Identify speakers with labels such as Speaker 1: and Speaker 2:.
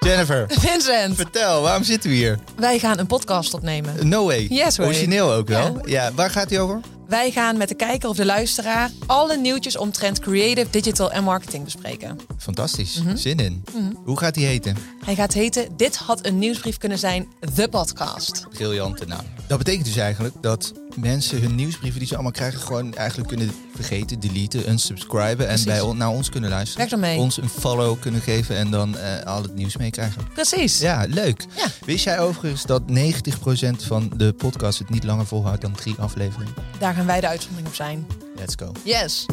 Speaker 1: Jennifer,
Speaker 2: Vincent,
Speaker 1: vertel, waarom zitten we hier?
Speaker 2: wij gaan een podcast opnemen.
Speaker 1: No way.
Speaker 2: Yes way.
Speaker 1: Origineel ook wel. Ja. waar gaat hij over?
Speaker 2: Wij gaan met de kijker of de luisteraar alle nieuwtjes omtrent creative, digital en marketing bespreken.
Speaker 1: Fantastisch.
Speaker 2: Mhm.
Speaker 1: Zin in. Hoe gaat hij heten?
Speaker 2: Hij gaat heten Dit had een nieuwsbrief kunnen zijn, de podcast.
Speaker 1: Briljante naam. Dat betekent dus eigenlijk dat mensen hun nieuwsbrieven die ze allemaal krijgen... gewoon eigenlijk kunnen vergeten, deleten, unsubscriben... en bij, on- naar ons kunnen luisteren.
Speaker 2: Weg ermee.
Speaker 1: Ons een follow kunnen geven en dan eh, al het nieuws meekrijgen.
Speaker 2: Precies.
Speaker 1: Ja, leuk.
Speaker 2: Ja.
Speaker 1: Wist jij overigens dat 90% van de podcast het niet langer volhoudt dan drie afleveringen?
Speaker 2: Daar gaan wij de uitzondering op zijn.
Speaker 1: Let's go.
Speaker 2: Yes.